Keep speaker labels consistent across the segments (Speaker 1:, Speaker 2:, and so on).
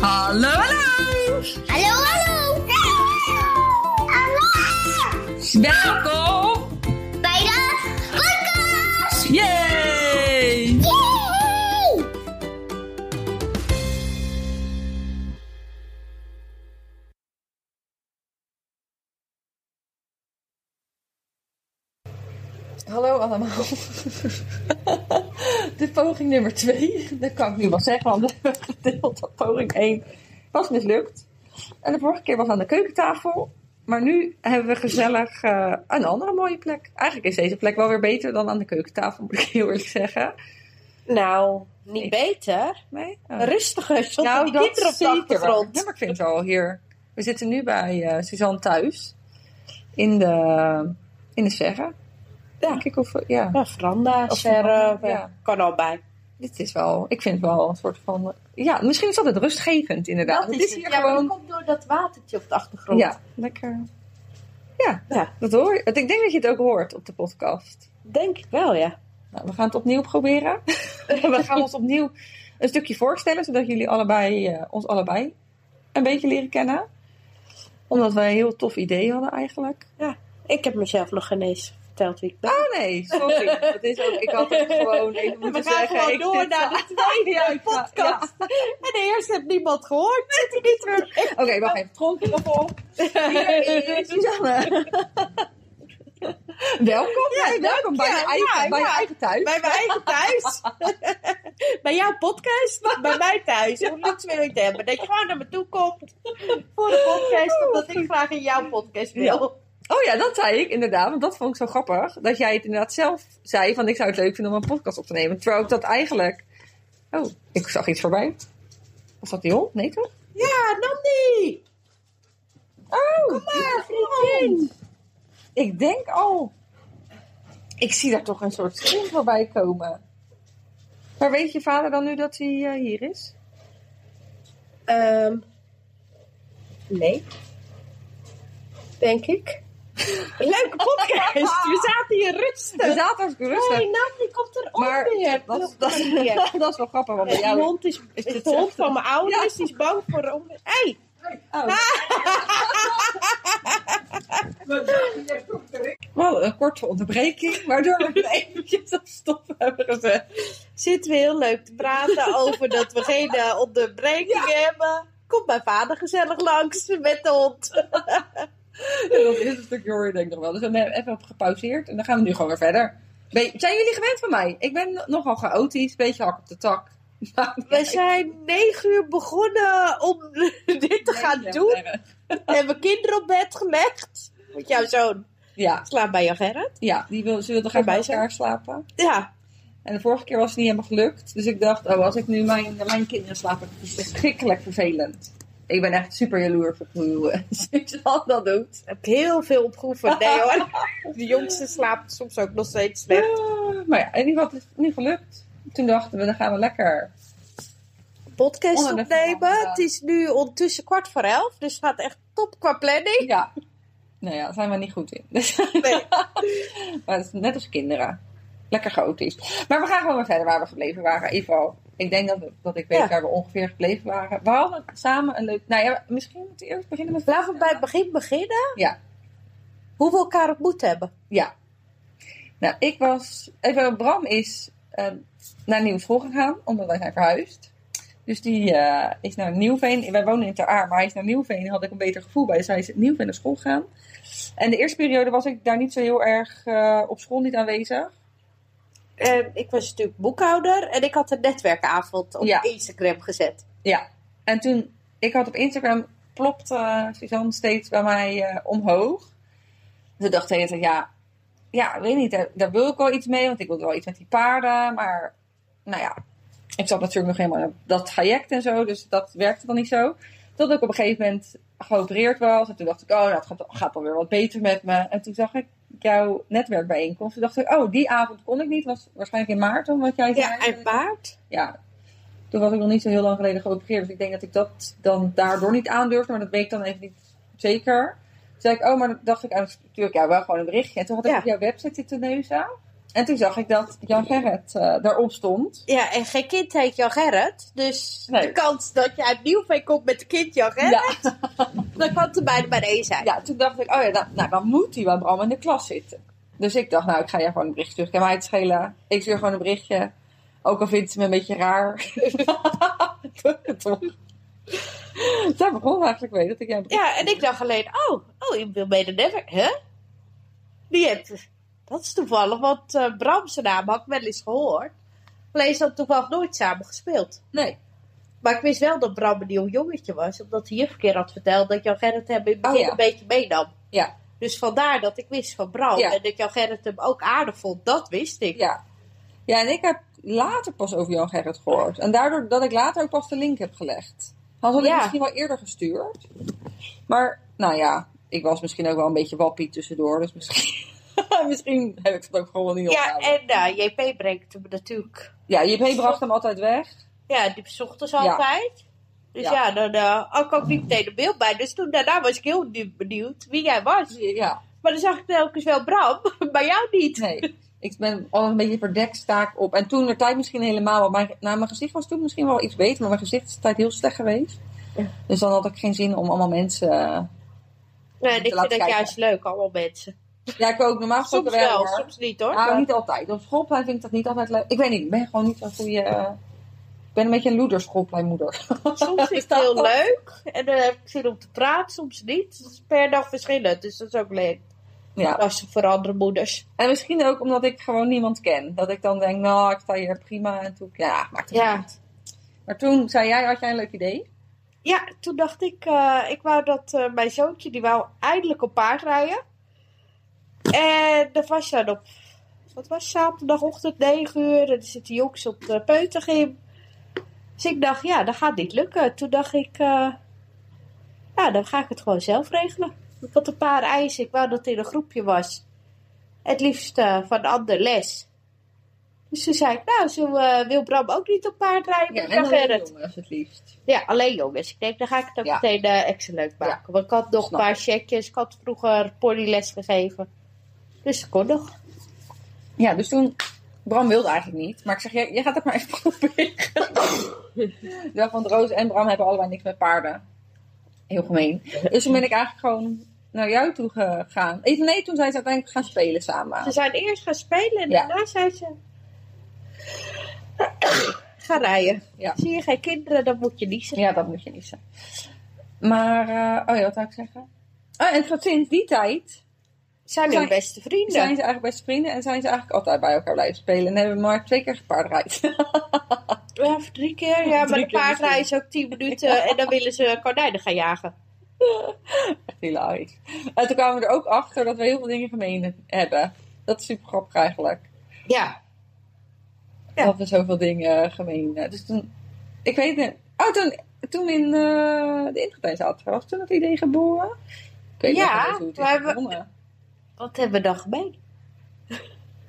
Speaker 1: Hallo, hallo!
Speaker 2: Hallo, hallo! Hallo!
Speaker 1: Welkom!
Speaker 2: Bij de podcast!
Speaker 1: Yay!
Speaker 2: Yay!
Speaker 3: Hallo allemaal. De poging nummer 2. Dat kan ik nu wel zeggen, want we hebben gedeeld dat poging 1 was mislukt. En de vorige keer was aan de keukentafel. Maar nu hebben we gezellig eh, een andere mooie plek. Eigenlijk is deze plek wel weer beter dan aan de keukentafel, moet ik heel eerlijk zeggen.
Speaker 4: Nou, niet
Speaker 3: Ik-
Speaker 4: beter.
Speaker 3: Nee? Oh. Nou,
Speaker 4: Rustiger, zonder die kinderen op de
Speaker 3: zeker wel.
Speaker 4: achtergrond.
Speaker 3: Ja, maar ik vind het wel hier. We zitten nu bij eh, Suzanne thuis. In de, in de serre.
Speaker 4: Ja.
Speaker 3: Denk ik of... Ja.
Speaker 4: Ja, veranda,
Speaker 3: Of
Speaker 4: serre,
Speaker 3: veranda, ja.
Speaker 4: kan al bij.
Speaker 3: Dit is wel, ik vind het wel een soort van. eh, Ja, misschien is dat het rustgevend, inderdaad. het is hier
Speaker 4: ja, maar Nou, dat
Speaker 3: gewoon.
Speaker 4: komt door dat watertje op de achtergrond.
Speaker 3: Ja, lekker. Ja,
Speaker 4: Ja.
Speaker 3: dat hoor je. Ik denk dat je het ook hoort op de podcast.
Speaker 4: Denk ik wel, ja.
Speaker 3: Nou, we gaan het opnieuw proberen. we gaan ons opnieuw een stukje voorstellen, zodat jullie allebei, eh, ons allebei een beetje leren kennen. Omdat wij een heel tof idee hadden eigenlijk.
Speaker 4: Ik heb mezelf nog geen eens verteld wie ik ben.
Speaker 3: Oh nee, sorry. Dat is ook, ik had het gewoon even moeten
Speaker 4: gaan
Speaker 3: zeggen.
Speaker 4: gewoon
Speaker 3: Ik
Speaker 4: door
Speaker 3: zit
Speaker 4: naar de
Speaker 3: zo- Ja, ik- ja.
Speaker 4: podcast. En de eerste heeft niemand gehoord. Zit hij niet meer.
Speaker 3: Oké, wacht even. Trompje nog op. Hier is Suzanne. welkom. nee, welkom bij,
Speaker 4: ja,
Speaker 3: je eigen,
Speaker 4: ja,
Speaker 3: bij je
Speaker 4: ja.
Speaker 3: eigen thuis.
Speaker 4: Bij mijn eigen thuis. bij jouw podcast. Bij mij thuis. Om niks meer mee te hebben. Dat je gewoon naar me toe komt. Voor de podcast. Omdat ik graag in jouw podcast wil.
Speaker 3: Oh ja, dat zei ik inderdaad. Want dat vond ik zo grappig. Dat jij het inderdaad zelf zei. Van ik zou het leuk vinden om een podcast op te nemen. Terwijl ik dat eigenlijk... Oh, ik zag iets voorbij. Was dat die hond? Nee toch?
Speaker 4: Ja, Nandi.
Speaker 3: Oh, Kom maar, vriendin. Ik denk al... ik zie daar toch een soort schim voorbij komen. Maar weet je vader dan nu dat hij eh, hier is?
Speaker 4: Ehm nee. Denk ik. Leuke podcast. We zaten hier
Speaker 3: We
Speaker 4: rustig.
Speaker 3: zaten ook rustig.
Speaker 4: Hey, Nam, die komt erop
Speaker 3: Maar
Speaker 4: weer.
Speaker 3: Dat,
Speaker 4: Dat
Speaker 3: dat,
Speaker 4: is weer.
Speaker 3: dat is wel grappig, want bij
Speaker 4: De
Speaker 3: jou...
Speaker 4: hond is,
Speaker 3: is
Speaker 4: de
Speaker 3: dit
Speaker 4: hond
Speaker 3: zelfde?
Speaker 4: van mijn ouders. Die is bang voor de onweer. Hey,
Speaker 3: Wel een korte onderbreking, waardoor we het eventjes op stop hebben gezet.
Speaker 4: zitten we heel leuk te praten over dat we geen eh, onderbreking hebben. Komt mijn vader gezellig langs met de hond.
Speaker 3: Dat is een stukje hoor je denk ik nog wel. Dus we hebben even op gepauzeerd en dan gaan we nu gewoon weer verder. Ben- zijn jullie gewend van mij? Ik ben nogal chaotisch, beetje hak op de tak.
Speaker 4: We zijn negen uur begonnen om dit te gaan doen. We hebben kinderen op bed gelegd. Met jouw zoon.
Speaker 3: Ja,
Speaker 4: Slaap bij jou, Gerrit.
Speaker 3: ja die wil, ze wilden graag bij
Speaker 4: Erbij
Speaker 3: elkaar slapen.
Speaker 4: Ja.
Speaker 3: En de vorige keer was het niet helemaal gelukt. Dus ik dacht, oh, als ik nu mijn, mijn kinderen slaap, dat is verschrikkelijk vervelend. Ik ben echt super jaloers op hoe eh, Suzanne dat doet.
Speaker 4: Ik heb heel veel opgeoefend. Nee hoor. De jongste slaapt soms ook nog steeds weg.
Speaker 3: Ja, Ah, maar ja, in ieder geval het is nu gelukt. Toen dachten we, dan gaan we lekker.
Speaker 4: Podcast
Speaker 3: Onder de
Speaker 4: opnemen.
Speaker 3: veranda.
Speaker 4: Het is nu ondertussen kwart voor elf. Dus het gaat echt top qua planning.
Speaker 3: Ja. Nou ja, daar zijn we niet goed in. Dus,
Speaker 4: Nee.
Speaker 3: maar het is net als kinderen. Lekker chaotisch. Maar we gaan gewoon weer verder waar we gebleven waren. In ieder geval, ik denk dat, dat ik weet
Speaker 4: Ja.
Speaker 3: waar we ongeveer gebleven waren. We hadden samen een leuk... Nou ja, misschien moeten we eerst beginnen met...
Speaker 4: Laten we bij het begin beginnen.
Speaker 3: Ja.
Speaker 4: Hoe we elkaar ontmoet hebben.
Speaker 3: Ja. Nou, ik was... Even, Bram is eh, naar Nieuw school gegaan, omdat wij zijn verhuisd. Dus die eh, is naar Nieuwveen. Wij wonen in Ter Aar, maar hij is naar Nieuwveen. Daar had ik een beter gevoel bij. Dus hij is in Nieuwveen naar school gegaan. En de eerste periode was ik daar niet zo heel erg eh, op school niet aanwezig.
Speaker 4: En Ehm, ik was natuurlijk boekhouder. En ik had een netwerkavond op
Speaker 3: Ja.
Speaker 4: Instagram gezet.
Speaker 3: Ja. En toen, ik had op Instagram, plopte eh, Suzanne steeds bij mij eh, omhoog. Ze dacht de hele tijd, ja, ja, ik weet niet, daar, daar wil ik wel iets mee, want ik wilde wel iets met die paarden. Maar, nou ja, ik zat natuurlijk nog helemaal in dat traject en zo, dus dat werkte dan niet zo. Tot ik op een gegeven moment geopereerd was. En toen dacht ik, oh, nou, het gaat, gaat alweer wat beter met me. En toen zag ik jouw netwerkbijeenkomst. Toen dacht ik, oh, die avond kon ik niet. was waarschijnlijk in maart, omdat jij eh? zei.
Speaker 4: Ja, en paard.
Speaker 3: Ja, toen was ik nog niet zo heel lang geleden geopereerd. Dus ik denk dat ik dat dan daardoor niet aandurfde. Maar dat weet ik dan even niet zeker. Toen zei ik, oh, maar dan dacht ik, ah, natuurlijk, ja, wel gewoon een berichtje. En toen had ik
Speaker 4: Ja.
Speaker 3: op jouw website zitten neuzen. En toen zag ik dat Jan Gerrit eh, daarop stond.
Speaker 4: Ja, en geen kind heet Jan Gerrit. Dus
Speaker 3: Nee.
Speaker 4: de kans dat je uit Nieuwveen komt met een kind Jan Gerrit,
Speaker 3: Ja,
Speaker 4: dan kan het er bijna bij één zijn.
Speaker 3: ja, toen dacht ik, oh ja, nou, nou, dan moet hij wel Bram in de klas zitten. Dus ik dacht, nou, ik ga jou gewoon een berichtje sturen. Kan mij het schelen. Ik stuur gewoon een berichtje. Ook al vindt ze me een beetje raar. Doe het Toch? Daar begon eigenlijk mee dat ik jou een
Speaker 4: Ja, en ik dacht alleen, oh, oh, in Will Made Never, hè? Die hebt, dat is toevallig, want eh Bram zijn naam had ik wel eens gehoord. Alleen ze hadden toevallig nooit samen gespeeld.
Speaker 3: Nee.
Speaker 4: Maar ik wist wel dat Bram een nieuw jongetje was, omdat hij juf een keer had verteld dat Jan Gerrit hem in het
Speaker 3: Oh,
Speaker 4: begin
Speaker 3: ja.
Speaker 4: een beetje meenam.
Speaker 3: Ja.
Speaker 4: Dus vandaar dat ik wist van Bram
Speaker 3: Ja.
Speaker 4: en dat Jan Gerrit hem ook aardig vond, dat wist ik.
Speaker 3: Ja. ja, en ik heb later pas over Jan Gerrit gehoord. En daardoor dat ik later ook pas de link heb gelegd. Had ik
Speaker 4: Ja.
Speaker 3: misschien wel eerder gestuurd. Maar, nou ja, ik was misschien ook wel een beetje wappie tussendoor. Dus misschien, misschien heb ik het ook gewoon niet
Speaker 4: Ja,
Speaker 3: opgehouden.
Speaker 4: en eh, JP brengt hem natuurlijk.
Speaker 3: Ja, JP bracht hem altijd weg.
Speaker 4: Ja, die bezochten ze
Speaker 3: Ja.
Speaker 4: altijd. Dus
Speaker 3: Ja.
Speaker 4: ja, dan eh, had ik ook niet meteen een beeld bij. Dus toen daarna was ik heel nieuw- benieuwd wie jij was.
Speaker 3: Ja,
Speaker 4: Maar dan zag ik telkens wel Bram, maar jou niet.
Speaker 3: nee. Ik ben al een beetje verdekt staak op. En toen de tijd misschien helemaal wel. Mijn, nou, mijn gezicht was toen misschien wel iets beter. Maar mijn gezicht is de tijd heel slecht geweest.
Speaker 4: Ja.
Speaker 3: Dus dan had ik geen zin om allemaal mensen... eh,
Speaker 4: Nee,
Speaker 3: Laten
Speaker 4: en ik vind dat
Speaker 3: kijken.
Speaker 4: juist leuk, allemaal mensen.
Speaker 3: Ja, ik ook. Normaal
Speaker 4: Soms
Speaker 3: gesproken
Speaker 4: wel,
Speaker 3: hoor.
Speaker 4: soms niet hoor.
Speaker 3: Nou,
Speaker 4: Maar-
Speaker 3: niet altijd. Op schoolplein vind ik dat niet altijd leuk. Ik weet niet, ik ben gewoon niet zo'n goede... eh, ik ben een beetje een loeder schoolpleinmoeder.
Speaker 4: Soms vind ik het heel leuk en dan heb ik zin om te praten, soms niet. Het is per dag verschillend, dus dat is ook leuk.
Speaker 3: Ja.
Speaker 4: Als voor andere moeders.
Speaker 3: En misschien ook omdat ik gewoon niemand ken. Dat ik dan denk, nou, ik sta hier prima. En toen, ja, maakt het
Speaker 4: Ja.
Speaker 3: niet uit. Maar toen zei jij, had jij een leuk idee?
Speaker 4: Ja, toen dacht ik, eh, ik wou dat eh, mijn zoontje, die wou eindelijk op paard rijden. En dat was dan op, wat was het, zaterdagochtend, 9 uur. En dan zit de jongens op de peutergym. Dus ik dacht, ja, dat gaat niet lukken. Toen dacht ik, eh, ja, dan ga ik het gewoon zelf regelen. Ik had een paar eisen, ik wou dat het in een groepje was. Het liefst eh, van een ander les. Dus toen zei ik, nou, zo eh, wil Bram ook niet op paard rijden.
Speaker 3: Ja,
Speaker 4: Ja,
Speaker 3: en
Speaker 4: dan
Speaker 3: alleen
Speaker 4: Gerrit.
Speaker 3: jongens het liefst.
Speaker 4: Ja, alleen jongens. Ik denk, dan ga ik het ook
Speaker 3: Ja.
Speaker 4: meteen eh, extra leuk maken. Want ik had nog
Speaker 3: Snap
Speaker 4: een paar checkjes. Ik had vroeger polyles gegeven. Dus dat kon nog.
Speaker 3: Ja, dus toen... Bram wilde eigenlijk niet. Maar ik zeg, jij, jij gaat het maar even proberen. Wel, Want Roos en Bram hebben allebei niks met paarden. Heel gemeen. Dus toen ben ik eigenlijk gewoon naar jou toe gegaan. Even nee, toen zijn ze uiteindelijk gaan spelen samen.
Speaker 4: Ze zijn eerst gaan spelen en
Speaker 3: Ja.
Speaker 4: daarna zijn ze... gaan rijden.
Speaker 3: Ja.
Speaker 4: Zie je geen kinderen, dan moet je niet zeggen.
Speaker 3: Ja, dat moet je niet zeggen. Maar, eh, oh ja, wat zou ik zeggen? Oh, en tot sinds die tijd
Speaker 4: Zijn hun
Speaker 3: Zijn-
Speaker 4: beste vrienden.
Speaker 3: zijn ze eigenlijk beste vrienden en zijn ze eigenlijk altijd bij elkaar blijven spelen. En hebben maar twee keer gepaardrijd.
Speaker 4: Ja, of drie keer. Ja, maar
Speaker 3: Drie
Speaker 4: de
Speaker 3: keer
Speaker 4: paardrijden is ook tien minuten. En dan willen ze konijnen gaan jagen.
Speaker 3: Echt hilarisch. En toen kwamen we er ook achter dat we heel veel dingen gemeen hebben. Dat is super grappig eigenlijk.
Speaker 4: Ja. Ja.
Speaker 3: Dat we zoveel dingen gemeen eh, Dus toen, ik weet het Oh, toen, toen we in eh, de intratuin zaten, was toen dat idee geboren? Ik weet
Speaker 4: Ja,
Speaker 3: nog niet hoe het is
Speaker 4: maar we-
Speaker 3: begonnen.
Speaker 4: Wat hebben we dan gemeen?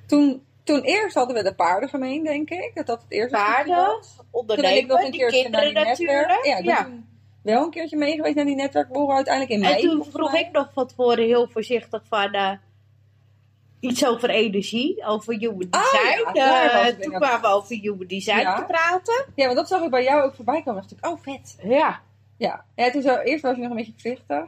Speaker 3: Toen, toen eerst hadden we de paarden gemeen, denk ik. Dat dat het eerste stukje
Speaker 4: Paarden,
Speaker 3: was. Toen ben ik nog
Speaker 4: ondernemen,
Speaker 3: een
Speaker 4: die
Speaker 3: keertje naar die
Speaker 4: kinderen
Speaker 3: netwerk.
Speaker 4: natuurlijk.
Speaker 3: Ja, ik ben toen wel een keertje mee geweest naar die netwerkborrel uiteindelijk in mei.
Speaker 4: En toen
Speaker 3: volgens
Speaker 4: vroeg
Speaker 3: mij.
Speaker 4: ik nog van tevoren heel voorzichtig van eh, iets over energie, over human
Speaker 3: Oh,
Speaker 4: design.
Speaker 3: ja, daar
Speaker 4: Eh,
Speaker 3: was ik
Speaker 4: toen
Speaker 3: inderdaad.
Speaker 4: kwamen we over human design
Speaker 3: Ja.
Speaker 4: te praten.
Speaker 3: Ja, want dat zag ik bij jou ook voorbij komen. dacht ik, oh vet.
Speaker 4: Ja.
Speaker 3: Ja, ja toen zo, eerst was je nog een beetje voorzichtig.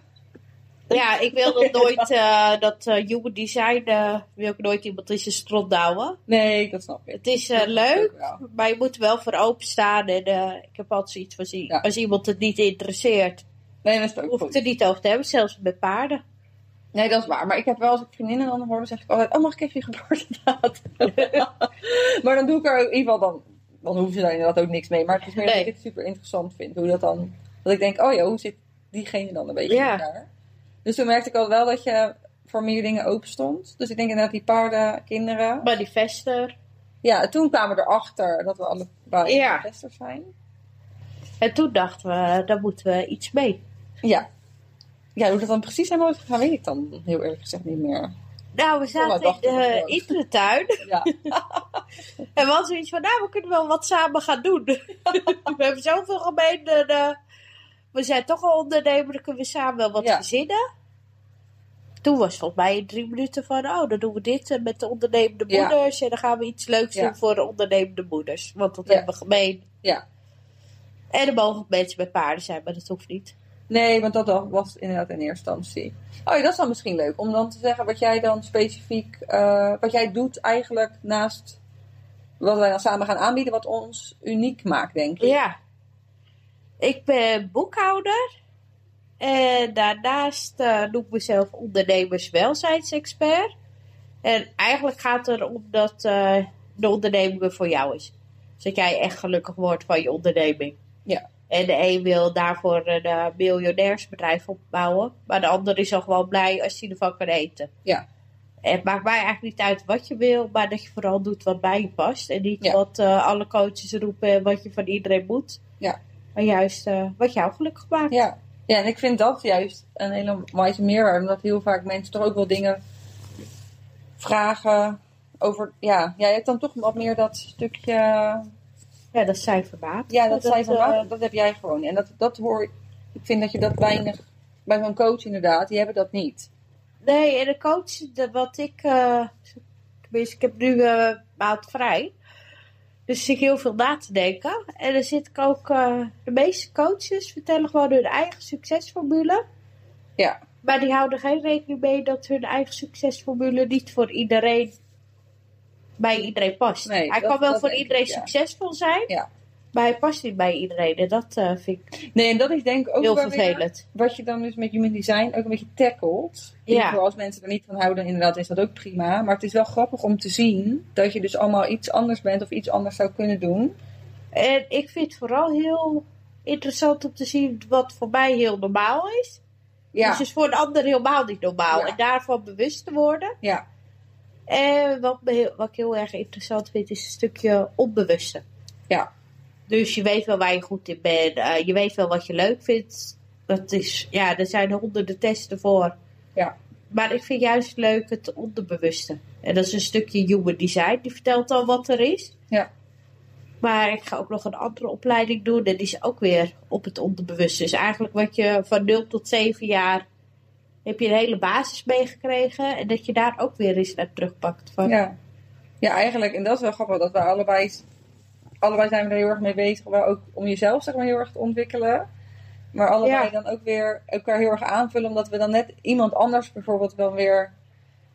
Speaker 4: Ja, ik wil dat nooit, eh, dat eh, human design, eh, wil ik nooit iemand in zijn strot douwen.
Speaker 3: Nee, dat snap ik.
Speaker 4: Het is eh,
Speaker 3: Dat snap ik
Speaker 4: leuk,
Speaker 3: ook wel.
Speaker 4: maar je moet er wel voor openstaan. En eh, ik heb altijd zoiets van, zie-
Speaker 3: Ja.
Speaker 4: als iemand het niet interesseert,
Speaker 3: Nee, dat is ook
Speaker 4: hoef ik
Speaker 3: goed.
Speaker 4: het er niet over te hebben. Zelfs met paarden.
Speaker 3: Nee, dat is waar. Maar ik heb wel als ik vriendinnen dan hoor, dan zeg ik altijd, oh mag ik even je geboortedatum? maar dan doe ik er ook, in ieder geval dan, dan hoeven ze daar inderdaad ook niks mee. Maar het is meer dat
Speaker 4: Nee.
Speaker 3: ik het super interessant vind. Hoe dat dan, dat ik denk, oh ja, hoe zit diegene dan een beetje
Speaker 4: Ja.
Speaker 3: in elkaar? Dus toen merkte ik al wel dat je voor meer dingen open stond. Dus ik denk inderdaad die paarden, kinderen.
Speaker 4: Manifester.
Speaker 3: Ja, en toen kwamen we erachter dat we allebei
Speaker 4: Ja.
Speaker 3: investors zijn.
Speaker 4: En toen dachten we, eh, daar moeten we iets mee.
Speaker 3: Ja. Ja, hoe dat dan precies helemaal is gegaan, weet ik dan heel eerlijk gezegd niet meer.
Speaker 4: Nou, we
Speaker 3: Oh, maar
Speaker 4: zaten in
Speaker 3: dacht ik
Speaker 4: de,
Speaker 3: ook.
Speaker 4: in de tuin
Speaker 3: Ja.
Speaker 4: en we hadden zoiets van, nou, we kunnen wel wat samen gaan doen. we hebben zoveel gemeen en eh, we zijn toch al ondernemer, dan kunnen we samen wel wat
Speaker 3: Ja.
Speaker 4: verzinnen. toen was volgens mij in drie minuten van, oh, dan doen we dit eh, met de ondernemende
Speaker 3: Ja.
Speaker 4: moeders. En dan gaan we iets leuks
Speaker 3: Ja.
Speaker 4: doen voor de ondernemende moeders. Want dat
Speaker 3: Ja.
Speaker 4: hebben we gemeen.
Speaker 3: Ja.
Speaker 4: En er mogen ook mensen met paarden zijn, maar dat hoeft niet.
Speaker 3: Nee, want dat al- was inderdaad in eerste instantie. Oh ja, dat is dan misschien leuk. Om dan te zeggen wat jij dan specifiek... eh, wat jij doet eigenlijk naast wat wij dan samen gaan aanbieden... wat ons uniek maakt, denk ik.
Speaker 4: Ja. Ik ben boekhouder. En daarnaast eh, noem ik mezelf ondernemerswelzijnsexpert. En eigenlijk gaat het om dat eh, de onderneming er voor jou is. Zodat jij echt gelukkig wordt van je onderneming.
Speaker 3: Ja.
Speaker 4: En de een wil daarvoor een eh, miljonairsbedrijf opbouwen. Maar de ander is al gewoon blij als hij ervan kan eten.
Speaker 3: Ja.
Speaker 4: En het maakt mij eigenlijk niet uit wat je wil, maar dat je vooral doet wat bij je past. En niet
Speaker 3: Ja.
Speaker 4: wat eh, alle coaches roepen en wat je van iedereen moet.
Speaker 3: Ja.
Speaker 4: Maar juist eh, wat jou gelukkig maakt.
Speaker 3: Ja. ja, en ik vind dat juist een hele wijze meerwaarde. Omdat heel vaak mensen toch ook wel dingen vragen over... Ja, jij hebt dan toch wat meer dat stukje...
Speaker 4: Ja, dat is cijfermaat.
Speaker 3: Ja, dat, zij van
Speaker 4: eh,
Speaker 3: water, dat heb jij gewoon. En dat, dat hoor ik. vind dat je dat weinig... Bij zo'n coach inderdaad, die hebben dat niet.
Speaker 4: Nee, en de coach, de- wat ik. eh, tenminste, ik heb nu eh, een maand vrij. Dus zit ik heel veel na te denken. En dan zit ik ook. eh, de meeste coaches vertellen gewoon hun eigen succesformule.
Speaker 3: Ja.
Speaker 4: Maar die houden geen rekening mee dat hun eigen succesformule niet voor iedereen. bij iedereen past.
Speaker 3: Nee,
Speaker 4: hij
Speaker 3: dat-
Speaker 4: kan wel
Speaker 3: dat
Speaker 4: voor
Speaker 3: denk ik,
Speaker 4: iedereen
Speaker 3: ja.
Speaker 4: succesvol zijn.
Speaker 3: Ja.
Speaker 4: Maar hij past niet bij iedereen. En dat eh, vind ik
Speaker 3: Nee, en dat is denk ik ook
Speaker 4: heel
Speaker 3: wel weer
Speaker 4: vervelend.
Speaker 3: wat je dan dus met human design ook een beetje tackelt.
Speaker 4: Ja.
Speaker 3: Ja. Als mensen er niet van houden, inderdaad, is dat ook prima. Maar het is wel grappig om te zien dat je dus allemaal iets anders bent of iets anders zou kunnen doen.
Speaker 4: En ik vind het vooral heel interessant om te zien wat voor mij heel normaal is.
Speaker 3: Ja,
Speaker 4: Dus is voor een ander helemaal niet normaal.
Speaker 3: Ja.
Speaker 4: En daarvan bewust te worden.
Speaker 3: ja,
Speaker 4: En wat, me heel- wat ik heel erg interessant vind, is een stukje onbewuste.
Speaker 3: Ja.
Speaker 4: Dus je weet wel waar je goed in bent. eh, je weet wel wat je leuk vindt. Dat is, ja, er zijn honderden testen voor.
Speaker 3: Ja.
Speaker 4: Maar ik vind juist leuk het onderbewuste. En dat is een stukje human design. Die vertelt al wat er is.
Speaker 3: Ja.
Speaker 4: Maar ik ga ook nog een andere opleiding doen. En die is ook weer op het onderbewuste. Dus eigenlijk wat je van 0 tot 7 jaar... heb je een hele basis meegekregen. En dat je daar ook weer eens naar terugpakt. Van,
Speaker 3: ja. Ja, eigenlijk, en dat is wel grappig, dat we allebei, allebei zijn we er heel erg mee bezig. Wel ook om jezelf zeg maar, heel erg te ontwikkelen. Maar allebei
Speaker 4: Ja.
Speaker 3: dan ook weer elkaar heel erg aanvullen, omdat we dan net iemand anders bijvoorbeeld wel weer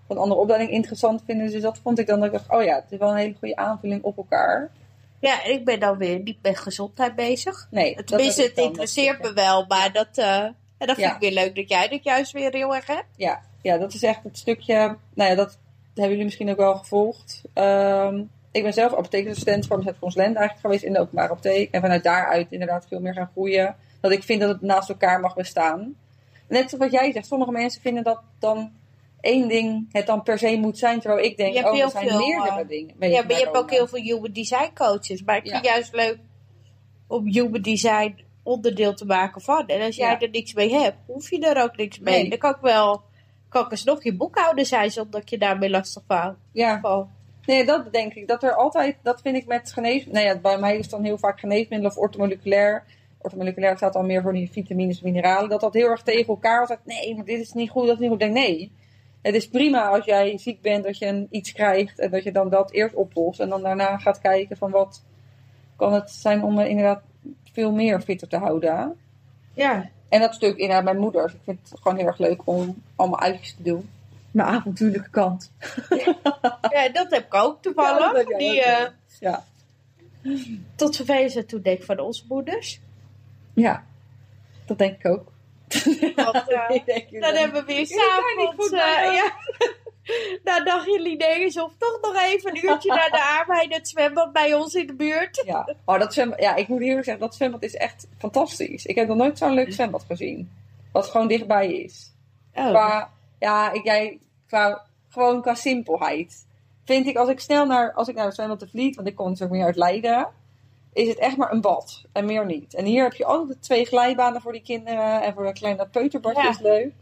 Speaker 3: van een andere opleiding interessant vinden. Dus dat vond ik dan dat ik dacht, oh ja, het is wel een hele goede aanvulling op elkaar.
Speaker 4: Ja, en ik ben dan weer niet met gezondheid bezig.
Speaker 3: Nee, dat
Speaker 4: Tenminste,
Speaker 3: heb
Speaker 4: het
Speaker 3: ik wel,
Speaker 4: interesseert
Speaker 3: dat
Speaker 4: me
Speaker 3: is-
Speaker 4: wel, maar dat, eh, en dat vind
Speaker 3: Ja.
Speaker 4: ik weer leuk dat jij dat juist weer heel erg hebt.
Speaker 3: Ja, ja, dat is echt het stukje. Nou ja, dat hebben jullie misschien ook wel gevolgd. Ehm, ik ben zelf apotheekassistent van het Consulent eigenlijk geweest in de openbare apotheek. En vanuit daaruit inderdaad veel meer gaan groeien. Dat ik vind dat het naast elkaar mag bestaan. Net zoals wat jij zegt, sommige mensen vinden dat dan één ding het dan per se moet zijn. Terwijl ik denk,
Speaker 4: Je hebt
Speaker 3: oh,
Speaker 4: heel
Speaker 3: er zijn
Speaker 4: veel,
Speaker 3: meerdere
Speaker 4: eh,
Speaker 3: dingen.
Speaker 4: ja, maar je hebt ook heel veel human design coaches. Maar ik
Speaker 3: Ja.
Speaker 4: vind het juist leuk om human design onderdeel te maken van. En als jij
Speaker 3: Ja.
Speaker 4: er niks mee hebt, hoef je er ook niks mee.
Speaker 3: Nee.
Speaker 4: Dan kan ik wel, kan ik alsnog je boekhouder zijn zonder dat je daarmee lastig valt.
Speaker 3: Ja, Nee, dat denk ik. Dat er altijd, dat vind ik met genees... Nou ja, bij mij is het dan heel vaak geneesmiddelen of ortomoleculair. Ortomoleculair staat dan meer voor die vitamines en mineralen. Dat dat heel erg tegen elkaar altijd... Nee, maar dit is niet goed, dat is niet goed. Ik denk, nee. Het is prima als jij ziek bent, dat je een, iets krijgt. En dat je dan dat eerst oplost. En dan daarna gaat kijken van wat kan het zijn om me inderdaad veel meer fitter te houden.
Speaker 4: Ja,
Speaker 3: En dat stuk inderdaad mijn moeder. Dus Ik vind het gewoon heel erg leuk om allemaal uitjes te doen. Mijn avontuurlijke kant.
Speaker 4: ja dat heb ik ook
Speaker 3: Ja,
Speaker 4: toevallig.
Speaker 3: dat heb jij
Speaker 4: die,
Speaker 3: ook, ja.
Speaker 4: eh,
Speaker 3: Ja.
Speaker 4: tot vervelend toe denk ik van onze moeders.
Speaker 3: Ja, dat denk ik ook.
Speaker 4: Want, eh,
Speaker 3: Ik denk jullie-
Speaker 4: Dan hebben we weer
Speaker 3: Jullie zijn niet
Speaker 4: s'avonds.
Speaker 3: goed
Speaker 4: eh
Speaker 3: bij ons.
Speaker 4: ja. Nou, dacht jullie nee, is of toch nog even een uurtje naar de arbeid het zwembad bij ons in de buurt.
Speaker 3: Ja. Oh, dat zwembad, ja, ik moet eerlijk zeggen, dat zwembad is echt fantastisch. Ik heb nog nooit zo'n leuk zwembad gezien. Wat gewoon dichtbij is.
Speaker 4: Oh.
Speaker 3: Qua, ja, ik, jij, qua, gewoon qua simpelheid. Vind ik, als ik snel naar, als ik naar het zwembad te Vliet, want ik kom natuurlijk meer uit Leiden, is het echt maar een bad en meer niet. En hier heb je altijd twee glijbanen voor die kinderen en voor dat kleine peuterbadje
Speaker 4: Ja.
Speaker 3: is leuk.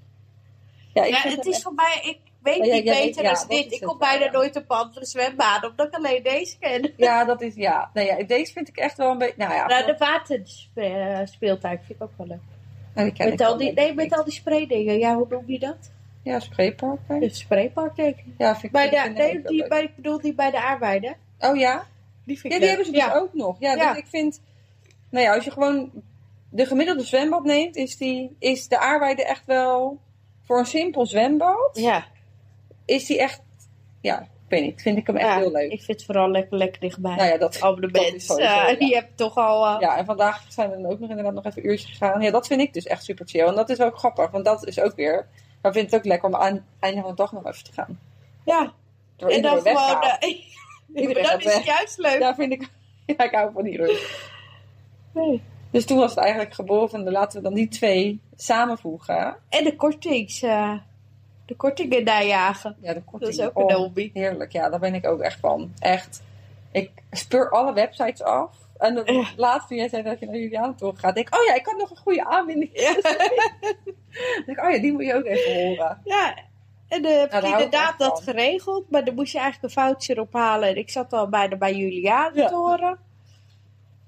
Speaker 3: Ja, ik
Speaker 4: ja,
Speaker 3: vind
Speaker 4: het is voor mij, ik weet
Speaker 3: Ja, ja,
Speaker 4: niet
Speaker 3: ja,
Speaker 4: beter
Speaker 3: ja,
Speaker 4: dan
Speaker 3: dat
Speaker 4: dit.
Speaker 3: is
Speaker 4: Ik
Speaker 3: het
Speaker 4: kom
Speaker 3: wel,
Speaker 4: bijna
Speaker 3: ja.
Speaker 4: nooit op andere zwembaden, omdat ik alleen deze ken.
Speaker 3: Ja, dat is ja. Nee, ja. Deze vind ik echt wel een beetje. Nou ja,
Speaker 4: Nou, de waterspeeltuin vind ik ook wel leuk.
Speaker 3: nou, die ken ik
Speaker 4: Met al
Speaker 3: wel,
Speaker 4: die,
Speaker 3: denk
Speaker 4: nee,
Speaker 3: ik
Speaker 4: met
Speaker 3: niet.
Speaker 4: al die spraydingen. Ja, hoe noem je dat?
Speaker 3: Ja, spreepark. denk ik.
Speaker 4: Het spreekpark, denk ik.
Speaker 3: Ja, vind ik
Speaker 4: Bij
Speaker 3: vind
Speaker 4: de,
Speaker 3: ik
Speaker 4: nee,
Speaker 3: ook
Speaker 4: die,
Speaker 3: leuk.
Speaker 4: bij, ik bedoel die bij de aardbeiden.
Speaker 3: Oh ja?
Speaker 4: Die vind
Speaker 3: Ja,
Speaker 4: ik
Speaker 3: die
Speaker 4: leuk.
Speaker 3: hebben ze dus
Speaker 4: Ja.
Speaker 3: ook nog. Ja,
Speaker 4: Ja.
Speaker 3: Dus ik vind... Nou ja, als je gewoon de gemiddelde zwembad neemt, is, die, is de aardbeide echt wel... Voor een simpel zwembad
Speaker 4: Ja,
Speaker 3: is die echt... Ja, ik weet niet. Vind ik hem echt
Speaker 4: Ja,
Speaker 3: heel leuk.
Speaker 4: Ik Oh, vind het vooral lekker, lekker dichtbij.
Speaker 3: Nou ja, dat... dat is
Speaker 4: Abonnement.
Speaker 3: sowieso,
Speaker 4: eh,
Speaker 3: ja.
Speaker 4: Die heb toch al. eh,
Speaker 3: Ja, en vandaag zijn we dan ook nog inderdaad nog even een uurtje gegaan. Ja, dat vind ik dus echt super chill. En dat is wel grappig, want dat is ook weer... Maar ik vind het ook lekker om aan het einde van de dag nog even te gaan.
Speaker 4: ja.
Speaker 3: Terwijl
Speaker 4: en dan
Speaker 3: iedereen weggaat.
Speaker 4: gewoon. eh,
Speaker 3: Iedereen
Speaker 4: dat
Speaker 3: gaat
Speaker 4: is
Speaker 3: weg.
Speaker 4: juist leuk.
Speaker 3: Daar vind ik... Ja, ik hou van die rust.
Speaker 4: Nee.
Speaker 3: Dus toen was het eigenlijk geboren van, laten we dan die twee samenvoegen.
Speaker 4: En de kortings. eh, de kortingen najagen.
Speaker 3: Ja, de
Speaker 4: Dat
Speaker 3: korting.
Speaker 4: is ook een
Speaker 3: Oh,
Speaker 4: hobby.
Speaker 3: Heerlijk, ja, daar ben ik ook echt van. Echt. Ik speur alle websites af. En dan
Speaker 4: Ja.
Speaker 3: laatst toen jij zei dat je naar Juliana toe gaat, denk ik, oh ja, ik had nog een goede aanbieding.
Speaker 4: Ja.
Speaker 3: Dan denk ik, oh ja, die moet je ook even horen.
Speaker 4: Ja, en eh,
Speaker 3: Nou,
Speaker 4: heb
Speaker 3: daar hou
Speaker 4: ik
Speaker 3: ik
Speaker 4: inderdaad
Speaker 3: echt van.
Speaker 4: dat geregeld. Maar dan moest je eigenlijk een voucher ophalen. En ik zat al bijna bij Juliaan
Speaker 3: Ja.
Speaker 4: te horen.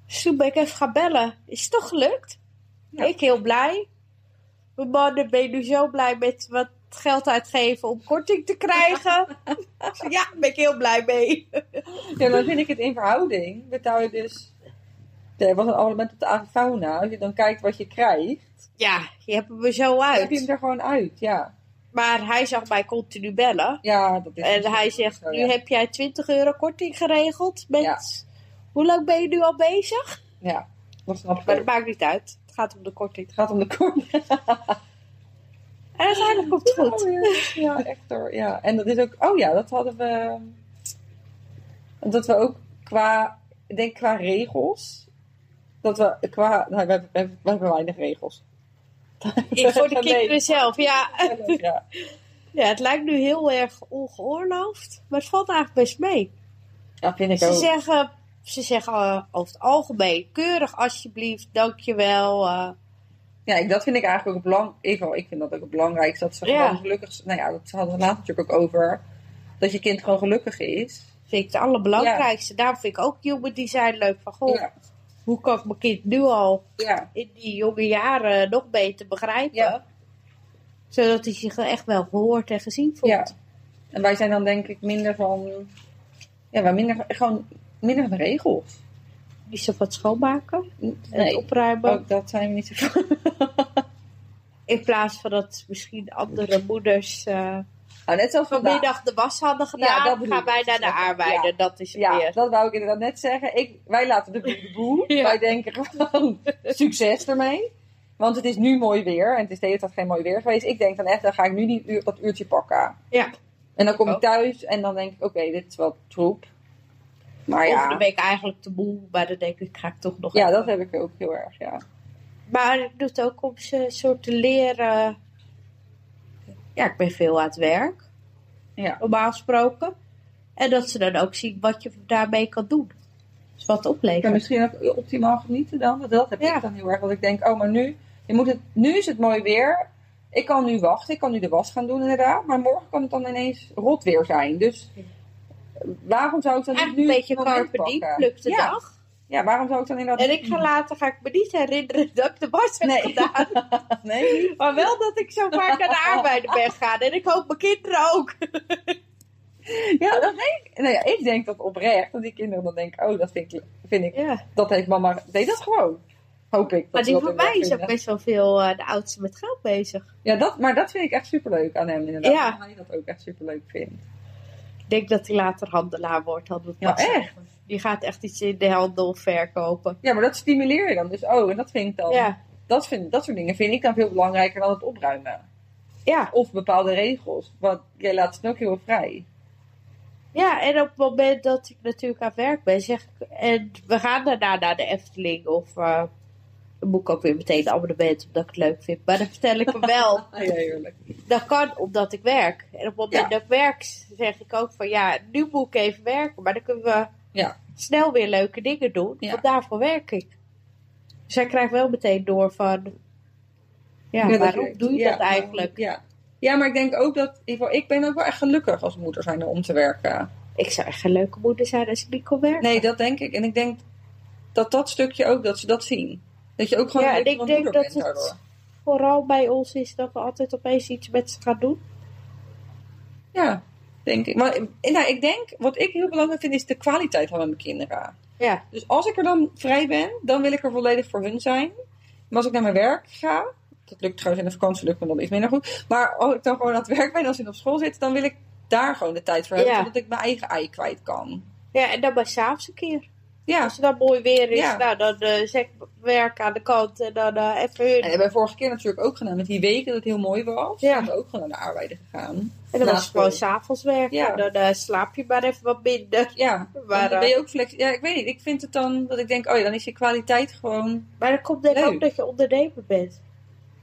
Speaker 4: Dus toen ben ik even gaan bellen. Is het toch gelukt?
Speaker 3: Ja.
Speaker 4: Ik heel blij. Mijn man, ben je nu zo blij met wat geld uitgeven om korting te krijgen? Ik zei, ja, daar ben ik heel blij mee.
Speaker 3: Ja, dan vind ik het in verhouding. Betaal je dus, er was een abonnement op de AviFauna. Als je dan kijkt wat je krijgt,
Speaker 4: Ja, je hebt hem er zo
Speaker 3: dan heb je hem
Speaker 4: uit.
Speaker 3: er gewoon uit. Ja,
Speaker 4: Maar hij zag mij continu bellen.
Speaker 3: ja dat is
Speaker 4: En hij zegt, nu heb jij 20 euro korting geregeld met...
Speaker 3: Ja.
Speaker 4: Hoe lang ben je nu al bezig?
Speaker 3: Ja, dat snap ik
Speaker 4: Maar
Speaker 3: ook.
Speaker 4: dat maakt niet uit. Het gaat om de korting.
Speaker 3: Het gaat om de korting.
Speaker 4: En uiteindelijk komt het goed.
Speaker 3: Oh, ja. ja, echt hoor. Ja. En dat is ook, oh ja, dat hadden we. Dat we ook qua, ik denk qua regels. Dat we qua, nou, we, hebben, we hebben- we hebben weinig regels.
Speaker 4: Ik voor de
Speaker 3: Nee.
Speaker 4: kinderen zelf. Ja.
Speaker 3: Ja.
Speaker 4: ja, het lijkt nu heel erg ongeoorloofd. Maar het valt eigenlijk best mee.
Speaker 3: Dat vind ik
Speaker 4: Ze
Speaker 3: ook.
Speaker 4: zeggen, ze zeggen eh, over het algemeen keurig alsjeblieft, dankjewel. eh
Speaker 3: Ja, ik, dat vind ik eigenlijk ook belangrijk. Ik, wel, ik vind dat ook het belangrijkste. Dat ze
Speaker 4: Ja.
Speaker 3: gewoon gelukkig Nou ja, dat hadden we later natuurlijk ook over. Dat je kind gewoon gelukkig is.
Speaker 4: vind ik het allerbelangrijkste. Daarom vind ik ook human design leuk. Van, goh,
Speaker 3: Ja.
Speaker 4: hoe kan ik mijn kind nu al
Speaker 3: ja.
Speaker 4: in die jonge jaren nog beter begrijpen?
Speaker 3: Ja.
Speaker 4: Zodat hij zich echt wel gehoord en gezien voelt.
Speaker 3: Ja. En wij zijn dan denk ik minder van. Ja, wij minder, gewoon minder van de regels.
Speaker 4: Niet zo wat schoonmaken en
Speaker 3: Nee,
Speaker 4: opruimen.
Speaker 3: ook dat zijn we niet zo van.
Speaker 4: In plaats van dat misschien andere moeders eh,
Speaker 3: Nou, net zoals vandaag.
Speaker 4: vanmiddag de was hadden
Speaker 3: Ja, dat
Speaker 4: gedaan,
Speaker 3: bedoel
Speaker 4: gaan
Speaker 3: ik.
Speaker 4: wij naar de arbeider.
Speaker 3: Ja.
Speaker 4: Dat is het
Speaker 3: Ja,
Speaker 4: meer.
Speaker 3: dat wou ik inderdaad net zeggen. Ik, wij laten de boel de boel.
Speaker 4: Ja.
Speaker 3: Wij denken gewoon succes ermee. Want het is nu mooi weer. En het is de hele tijd geen mooi weer geweest. Ik denk dan echt, dan ga ik nu die uur, dat uurtje pakken.
Speaker 4: Ja.
Speaker 3: En dan kom ik
Speaker 4: Ik ook.
Speaker 3: thuis en dan denk ik, oké, dit is wel troep. Maar
Speaker 4: Of dan
Speaker 3: ja,
Speaker 4: ben ik eigenlijk te moe, maar dan denk ik, ga ik toch nog
Speaker 3: ja,
Speaker 4: even.
Speaker 3: dat heb ik ook heel erg, ja.
Speaker 4: Maar ik doe het ook om ze een soort te leren. Ja, ik ben veel aan het werk,
Speaker 3: Ja,
Speaker 4: normaal gesproken. En dat ze dan ook zien wat je daarmee kan doen. Dus wat
Speaker 3: Ja,
Speaker 4: oplevert.
Speaker 3: misschien ook optimaal genieten dan. Want dat heb
Speaker 4: Ja.
Speaker 3: ik dan heel erg. Want ik denk, oh, maar nu, je moet het, nu is het mooi weer. Ik kan nu wachten. Ik kan nu de was gaan doen inderdaad. Maar morgen kan het dan ineens rot weer zijn. Dus waarom zou ik dan niet
Speaker 4: Eigenlijk
Speaker 3: nu
Speaker 4: een beetje
Speaker 3: het moment
Speaker 4: carpe diem,
Speaker 3: pakken?
Speaker 4: pluk de
Speaker 3: ja.
Speaker 4: dag.
Speaker 3: Ja, waarom zou ik dan inderdaad...
Speaker 4: En ik ga later ga ik me niet herinneren dat ik de was heb
Speaker 3: Nee.
Speaker 4: gedaan.
Speaker 3: Nee,
Speaker 4: Maar wel dat ik zo vaak naar de arbeider ben gegaan. En ik hoop mijn kinderen ook.
Speaker 3: ja, dat denk ik. Nou ja, ik denk dat oprecht. Dat die kinderen dan denken, oh, dat vind ik... Vind ik
Speaker 4: Ja.
Speaker 3: dat heeft mama... Deed dat gewoon. Hoop ik. dat
Speaker 4: Maar
Speaker 3: ze
Speaker 4: die
Speaker 3: dat
Speaker 4: van
Speaker 3: inderdaad
Speaker 4: mij is ook
Speaker 3: vinden.
Speaker 4: best wel veel eh, de oudste met geld bezig.
Speaker 3: Ja, dat, maar dat vind ik echt superleuk aan hem inderdaad.
Speaker 4: Ja.
Speaker 3: Dat hij dat ook echt superleuk vindt.
Speaker 4: Ik denk dat hij later handelaar wordt. Handelt
Speaker 3: Ja, echt?
Speaker 4: Die gaat echt iets in de handel verkopen.
Speaker 3: Ja, maar dat stimuleer je dan. Dus, oh, en dat vind ik dan...
Speaker 4: Ja.
Speaker 3: dat, vind, dat soort dingen vind ik dan veel belangrijker dan het opruimen.
Speaker 4: Ja.
Speaker 3: Of bepaalde regels. Want jij laat het ook heel vrij.
Speaker 4: ja, en op het moment dat ik natuurlijk aan het werk ben, zeg ik... En we gaan daarna naar de Efteling of... eh dan moet ik ook weer meteen een abonnement, omdat ik het leuk vind. Maar dan vertel ik hem wel
Speaker 3: Ah, ja, heerlijk.
Speaker 4: Dat kan omdat ik werk. En op het moment
Speaker 3: Ja.
Speaker 4: dat ik werk, zeg ik ook van ja, nu moet ik even werken. Maar dan kunnen we
Speaker 3: Ja.
Speaker 4: snel weer leuke dingen doen.
Speaker 3: Ja.
Speaker 4: Want daarvoor werk ik. Dus hij krijgt wel meteen door van ja,
Speaker 3: dat
Speaker 4: waarom
Speaker 3: werkt.
Speaker 4: doe je
Speaker 3: Ja,
Speaker 4: dat eigenlijk?
Speaker 3: Ja. ja, maar ik denk ook dat... in ieder geval, Ik ben ook wel echt gelukkig als moeder zijn om te werken.
Speaker 4: Ik zou echt een leuke moeder zijn als ik niet kon werken.
Speaker 3: Nee, dat denk ik. En ik denk dat dat stukje ook, dat ze dat zien. Dat je ook gewoon
Speaker 4: Ja,
Speaker 3: een
Speaker 4: en ik
Speaker 3: leuke
Speaker 4: denk
Speaker 3: moeder
Speaker 4: dat
Speaker 3: bent
Speaker 4: het-
Speaker 3: daardoor.
Speaker 4: Vooral bij ons is dat we altijd opeens iets met ze gaan doen.
Speaker 3: Ja, denk ik. Maar eh, nou, ik denk, wat ik heel belangrijk vind, is de kwaliteit van mijn kinderen.
Speaker 4: Ja.
Speaker 3: Dus als ik er dan vrij ben, dan wil ik er volledig voor hun zijn. Maar als ik naar mijn werk ga, dat lukt trouwens in de vakantie, lukt me dan iets minder goed. Maar als ik dan gewoon aan het werk ben, als ik op school zit, dan wil ik daar gewoon de tijd voor hebben,
Speaker 4: Ja.
Speaker 3: zodat ik mijn eigen ei kwijt kan.
Speaker 4: ja, en dan maar s'avonds een keer.
Speaker 3: Ja,
Speaker 4: Als het dan mooi weer is,
Speaker 3: Ja.
Speaker 4: nou, dan eh zet ik werk aan de kant en dan eh, even hun.
Speaker 3: en dat hebben we vorige keer natuurlijk ook gedaan met die week dat het heel mooi was.
Speaker 4: Ja.
Speaker 3: Ja. we ook gewoon naar de arbeiden gegaan.
Speaker 4: en dan
Speaker 3: na
Speaker 4: was het gewoon
Speaker 3: school.
Speaker 4: s'avonds werken.
Speaker 3: Ja.
Speaker 4: En dan eh, slaap je maar even wat minder.
Speaker 3: Ja,
Speaker 4: Maar,
Speaker 3: maar, dan ben je ook flexibel. Ja, ik weet niet. Ik vind het dan dat ik denk, oh ja, dan is je kwaliteit gewoon.
Speaker 4: Maar dan komt denk ik
Speaker 3: Leuk.
Speaker 4: ook dat je ondernemer bent.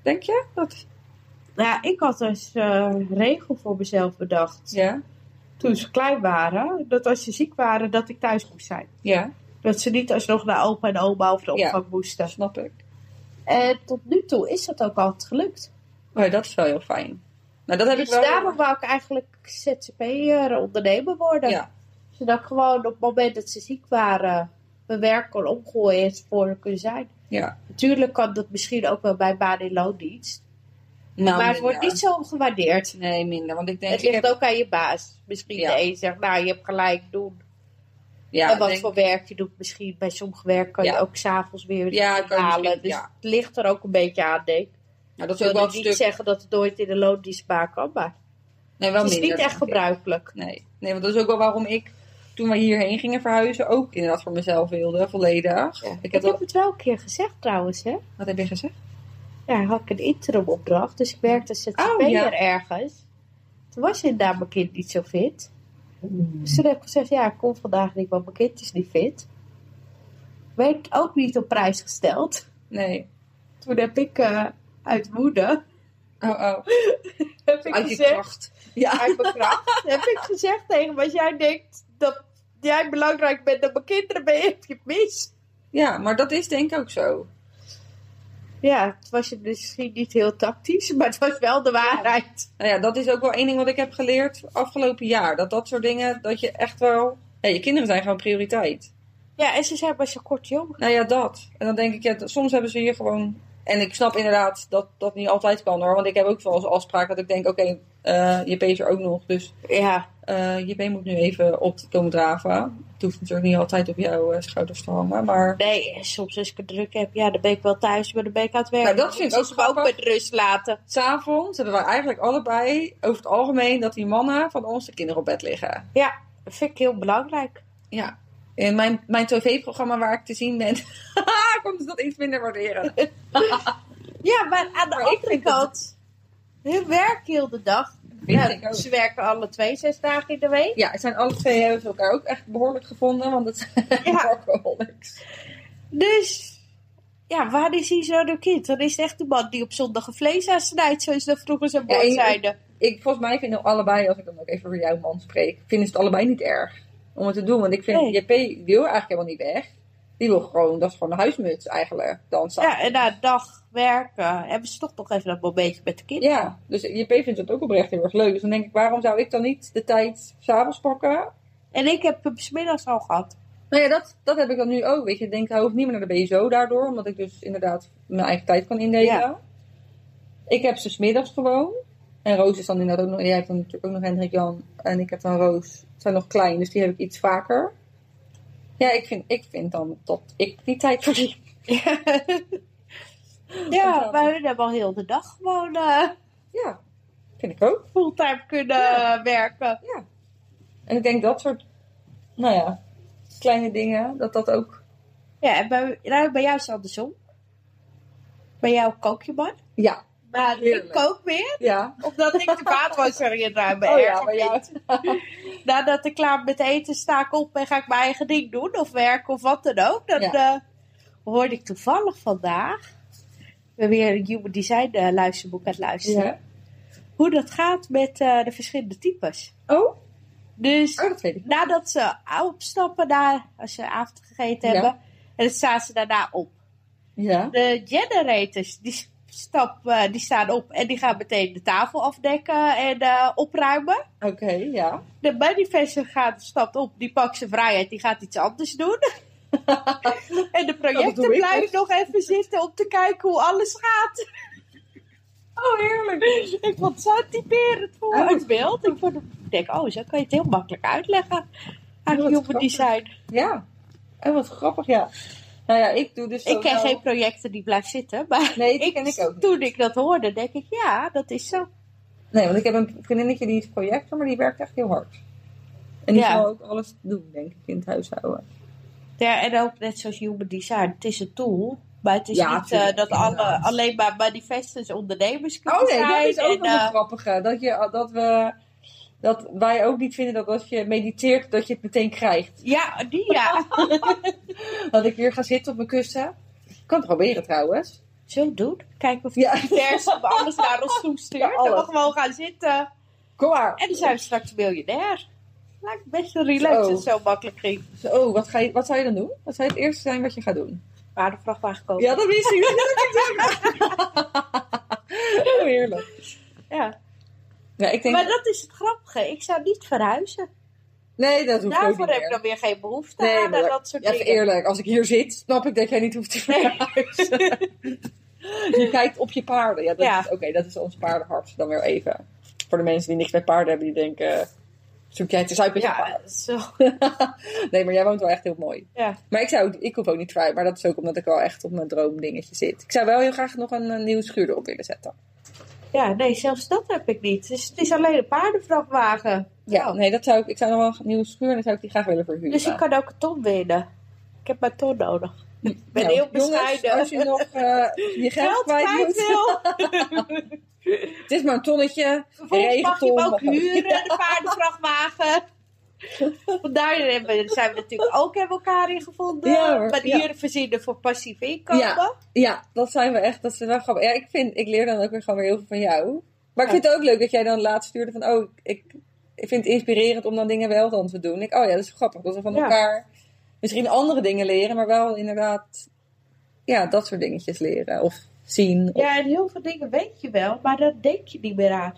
Speaker 3: Denk je? Dat...
Speaker 4: Nou ja, ik had dus eh, een regel voor mezelf bedacht.
Speaker 3: Ja,
Speaker 4: Toen ze klein waren, dat als ze ziek waren, dat ik thuis moest zijn.
Speaker 3: ja,
Speaker 4: Dat ze niet alsnog naar opa en oma of de
Speaker 3: Ja.
Speaker 4: opvang moesten.
Speaker 3: dat snap ik.
Speaker 4: En tot nu toe is dat ook altijd gelukt.
Speaker 3: Oh, ja, dat is wel heel fijn. Nou, dat heb
Speaker 4: Dus
Speaker 3: ik wel.
Speaker 4: daarom wou ik eigenlijk ZZP'er ondernemer worden.
Speaker 3: Ja.
Speaker 4: Zodat ik gewoon op het moment dat ze ziek waren, mijn werk kon omgooien en ze voor hen kunnen zijn.
Speaker 3: Ja.
Speaker 4: Natuurlijk kan dat misschien ook wel bij baan in loondienst.
Speaker 3: Nou,
Speaker 4: maar het wordt
Speaker 3: minder.
Speaker 4: niet zo gewaardeerd.
Speaker 3: Nee, minder. Want ik denk.
Speaker 4: het
Speaker 3: ik
Speaker 4: ligt
Speaker 3: heb,
Speaker 4: ook aan je baas. Misschien
Speaker 3: Ja.
Speaker 4: de een zegt, nou je hebt gelijk, doen.
Speaker 3: ja,
Speaker 4: en
Speaker 3: ik
Speaker 4: wat
Speaker 3: denk-
Speaker 4: voor werk je doet. Misschien bij sommige werk kan je
Speaker 3: Ja.
Speaker 4: ook s'avonds weer
Speaker 3: Ja, kan je
Speaker 4: halen.
Speaker 3: misschien-
Speaker 4: Dus
Speaker 3: ja.
Speaker 4: het ligt er ook een beetje aan, denk ik.
Speaker 3: nou, dat
Speaker 4: Ik
Speaker 3: is ook wel
Speaker 4: wil
Speaker 3: een
Speaker 4: niet
Speaker 3: stuk.
Speaker 4: zeggen dat het nooit in de loondienstbaan kan, maar
Speaker 3: nee, wel
Speaker 4: het is
Speaker 3: minder,
Speaker 4: niet
Speaker 3: denk
Speaker 4: echt
Speaker 3: ik.
Speaker 4: gebruikelijk.
Speaker 3: Nee. nee, want dat is ook wel waarom ik toen we hierheen gingen verhuizen ook inderdaad voor mezelf wilde, volledig.
Speaker 4: Ja.
Speaker 3: Ik heb
Speaker 4: Ik heb
Speaker 3: dat,
Speaker 4: het wel een keer gezegd trouwens, hè.
Speaker 3: wat heb je gezegd?
Speaker 4: Ja, had ik een interim opdracht, dus ik werkte als zzp'er
Speaker 3: Oh, ja.
Speaker 4: ergens. Toen was inderdaad mijn kind niet zo fit. Dus toen heb ik gezegd, ja, ik kom vandaag niet, want mijn kind is niet fit. Werd ook niet op prijs gesteld.
Speaker 3: Nee.
Speaker 4: Toen heb ik eh, uit woede,
Speaker 3: Oh, oh.
Speaker 4: heb ik
Speaker 3: Uit je
Speaker 4: gezegd,
Speaker 3: kracht. Ja.
Speaker 4: uit mijn kracht, heb ik gezegd tegen hem, als jij denkt dat jij belangrijk bent dat mijn kinderen ben, heb je het mis.
Speaker 3: ja, maar dat is denk ik ook zo.
Speaker 4: Ja, het was misschien niet heel tactisch, maar het was wel de waarheid.
Speaker 3: Nou ja, dat is ook wel één ding wat ik heb geleerd afgelopen jaar. Dat dat soort dingen, dat je echt wel... Ja, je kinderen zijn gewoon prioriteit.
Speaker 4: Ja, en ze zijn best een kort jong.
Speaker 3: Nou ja, dat. En dan denk ik, ja, dat- soms hebben ze hier gewoon... En ik snap inderdaad dat dat niet altijd kan hoor. Want ik heb ook wel eens afspraak dat ik denk, oké, eh, JP is er ook nog. Dus
Speaker 4: Ja,
Speaker 3: eh JP moet nu even op komen draven. Het hoeft natuurlijk niet altijd op jouw eh, schouders te hangen. Maar
Speaker 4: nee, soms als ik het druk heb, ja, dan ben ik wel thuis, maar dan ben ik aan het werk.
Speaker 3: Nou, dat vind ik
Speaker 4: Dus
Speaker 3: ook
Speaker 4: me ook
Speaker 3: grappig.
Speaker 4: met rust laten.
Speaker 3: s'avonds hebben wij eigenlijk allebei over het algemeen... dat die mannen van ons de kinderen op bed liggen.
Speaker 4: Ja, dat vind ik heel belangrijk.
Speaker 3: Ja. In mijn, mijn tv-programma waar ik te zien ben, komt ze dat iets minder waarderen.
Speaker 4: Ja, maar aan de
Speaker 3: Maar ik
Speaker 4: andere
Speaker 3: vind dat-
Speaker 4: kant, hun werk heel de dag.
Speaker 3: Ja,
Speaker 4: Ja, ze werken alle twee zes dagen in de week.
Speaker 3: ja, het zijn alle twee hebben ze elkaar ook echt behoorlijk gevonden, want het zijn
Speaker 4: Ja.
Speaker 3: alcoholics.
Speaker 4: Dus, ja, waar is hij zo door kind? Dan is het echt de man die op zondag een vlees aansnijdt, zoals dat vroeger zijn
Speaker 3: Ja,
Speaker 4: bord
Speaker 3: en-
Speaker 4: zeiden.
Speaker 3: Ik, volgens mij vinden allebei, als ik dan ook even voor jouw man spreek, vinden ze het allebei niet erg om het te doen. Want ik vind,
Speaker 4: Nee.
Speaker 3: JP wil eigenlijk helemaal niet weg. Die wil gewoon, dat is gewoon een huismuts eigenlijk, dan samen.
Speaker 4: Ja, en na een dag werken hebben ze toch nog even dat momentje met de kinderen.
Speaker 3: Ja, dus JP vindt het ook oprecht heel erg leuk. Dus dan denk ik, waarom zou ik dan niet de tijd s'avonds pakken
Speaker 4: En ik heb hem smiddags al gehad.
Speaker 3: Nou ja, dat, dat heb ik dan nu ook. Weet je, ik denk, hij hoeft niet meer naar de BSO daardoor, omdat ik dus inderdaad mijn eigen tijd kan indelen.
Speaker 4: Ja.
Speaker 3: Ik heb ze 's middags gewoon. En Roos is dan inderdaad ook nog. Jij hebt dan natuurlijk ook nog Hendrik Jan. En ik heb dan Roos. Ze zijn nog klein, dus die heb ik iets vaker. Ja, ik vind, ik vind dan dat ik die tijd verdien.
Speaker 4: Ja,
Speaker 3: Ontzettend.
Speaker 4: maar hun hebben al heel de dag gewoon eh,
Speaker 3: Ja, vind ik ook.
Speaker 4: fulltime kunnen eh, werken.
Speaker 3: En ik denk dat soort, nou ja, kleine dingen, dat dat ook.
Speaker 4: Ja, en bij, nou, bij jou is het andersom. Bij jou kook je maar.
Speaker 3: Ja,
Speaker 4: Maar ik
Speaker 3: Heerlijk.
Speaker 4: kook weer,
Speaker 3: ja.
Speaker 4: omdat ik de vaatwasser in ruim ben.
Speaker 3: Oh ja, maar ja.
Speaker 4: Nadat ik klaar ben met eten, sta ik op en ga ik mijn eigen ding doen. Of werken of wat dan ook. Dat
Speaker 3: Ja.
Speaker 4: eh, hoorde ik toevallig vandaag. Ik ben weer een Human Design eh, luisterboek aan het luisteren.
Speaker 3: ja.
Speaker 4: Hoe dat gaat met eh, de verschillende types.
Speaker 3: Oh, oh,
Speaker 4: Dus
Speaker 3: dat weet ik.
Speaker 4: nadat ze opstappen, na, als ze avond gegeten
Speaker 3: Ja.
Speaker 4: hebben, en dan staan ze daarna op.
Speaker 3: Ja.
Speaker 4: De generators, die, stap, eh, die staan op en die gaan meteen de tafel afdekken en eh, opruimen.
Speaker 3: Oké, ja.
Speaker 4: De manifester gaat, stapt op, die pakt zijn vrijheid, die gaat iets anders doen. en de
Speaker 3: Dat
Speaker 4: projecten
Speaker 3: doe ik
Speaker 4: blijven nog even zitten om te kijken hoe alles gaat.
Speaker 3: Oh, heerlijk.
Speaker 4: ik vond het zo typerend voor
Speaker 3: Hij
Speaker 4: het beeld. Ik, vond, ik denk, oh, zo kan je het heel makkelijk uitleggen aan
Speaker 3: Oh, wat
Speaker 4: human
Speaker 3: grappig.
Speaker 4: design.
Speaker 3: Ja. En wat grappig, ja. Nou ja, ik doe dus
Speaker 4: Ik ken
Speaker 3: wel-
Speaker 4: geen projecten die blijven zitten, maar
Speaker 3: Nee, die ken ik ook niet.
Speaker 4: toen ik dat hoorde, denk ik, ja, dat is zo.
Speaker 3: Nee, want ik heb een vriendinnetje die is projector, maar die werkt echt heel hard. En die
Speaker 4: Ja.
Speaker 3: zal ook alles doen, denk ik, in het huishouden.
Speaker 4: Ja, en ook net zoals human design, het is een tool. Maar het is
Speaker 3: Ja,
Speaker 4: niet eh,
Speaker 3: tuurlijk,
Speaker 4: dat alle,
Speaker 3: inderdaad.
Speaker 4: alleen maar manifestants ondernemers kunnen
Speaker 3: Oh nee, dat is
Speaker 4: zijn
Speaker 3: ook
Speaker 4: en,
Speaker 3: wel een
Speaker 4: eh,
Speaker 3: grappige. Dat, je, dat, we, dat wij ook niet vinden dat als je mediteert, dat je het meteen krijgt.
Speaker 4: ja, die ja.
Speaker 3: Dat ik weer ga zitten op mijn kussen. Ik kan het proberen trouwens.
Speaker 4: Zo doen. Kijken of
Speaker 3: Ja.
Speaker 4: de universum alles naar ons toe stuurt.
Speaker 3: Ja,
Speaker 4: en we
Speaker 3: alles.
Speaker 4: gewoon gaan zitten.
Speaker 3: Kom maar.
Speaker 4: En dan zijn we straks miljonair. Lijkt me best wel relaxed
Speaker 3: Zo.
Speaker 4: als het zo makkelijk ging.
Speaker 3: Oh, wat, ga je, wat zou je dan doen? Wat zou het eerste zijn wat je gaat doen?
Speaker 4: Waar de vrachtwagen komen.
Speaker 3: Ja, dat wist ik. Oh, heerlijk.
Speaker 4: Ja.
Speaker 3: Ja, ik denk...
Speaker 4: Maar dat is het grappige. Ik zou niet verhuizen.
Speaker 3: nee, dat hoeft ook niet
Speaker 4: Daarvoor heb ik
Speaker 3: meer.
Speaker 4: dan weer geen behoefte
Speaker 3: Nee,
Speaker 4: aan.
Speaker 3: maar-
Speaker 4: en dat soort
Speaker 3: Ja, even
Speaker 4: dingen.
Speaker 3: eerlijk, als ik hier zit, snap ik dat jij niet hoeft te
Speaker 4: Nee.
Speaker 3: verhuizen. je kijkt op je paarden. Ja, dat
Speaker 4: Ja.
Speaker 3: is Oké, dat is ons paardenhart dan weer even. Voor de mensen die niks met paarden hebben, die denken... Zoek jij het eens uit met je
Speaker 4: Ja,
Speaker 3: paarden?
Speaker 4: zo.
Speaker 3: nee, maar jij woont wel echt heel mooi.
Speaker 4: Ja.
Speaker 3: Maar ik, zou, ook- ik hoef ook niet vrij. Maar dat is ook omdat ik wel echt op mijn droomdingetje zit. Ik zou wel heel graag nog een, eh, nieuwe schuur erop willen zetten.
Speaker 4: ja, nee, zelfs dat heb ik niet. Dus het is alleen een paardenvrachtwagen.
Speaker 3: Ja,
Speaker 4: Oh.
Speaker 3: nee, dat zou ik, ik zou nog wel een nieuwe schuur en dan zou ik die graag willen verhuren.
Speaker 4: Dus ik kan ook een ton winnen. Ik heb mijn ton nodig. Ik ben
Speaker 3: Nou,
Speaker 4: heel
Speaker 3: jongens,
Speaker 4: bescheiden.
Speaker 3: als je nog eh, je geld kwijt moet.
Speaker 4: wil.
Speaker 3: Het is maar een tonnetje.
Speaker 4: Vervolgens mag je hem
Speaker 3: Regenton,
Speaker 4: ook
Speaker 3: mag ook.
Speaker 4: huren, de paardenvrachtwagen. Want daar hebben- zijn we natuurlijk ook hebben elkaar in gevonden.
Speaker 3: Ja, hoor,
Speaker 4: Manieren verzinnen voor passief inkomen.
Speaker 3: Ja. Ja, dat zijn we echt. Dat is wel grappig. Ja, ik, vind, ik leer dan ook weer gewoon weer heel veel van jou. Maar ik
Speaker 4: Ja.
Speaker 3: vind het ook leuk dat jij dan laatst stuurde van... Oh, ik, ik vind het inspirerend om dan dingen wel dan te doen. Ik, oh ja, dat is grappig. Dat we van
Speaker 4: Ja.
Speaker 3: elkaar misschien andere dingen leren. Maar wel inderdaad... Ja, dat soort dingetjes leren. Of zien. Of,
Speaker 4: Ja, en heel veel dingen weet je wel, maar daar denk je niet meer aan.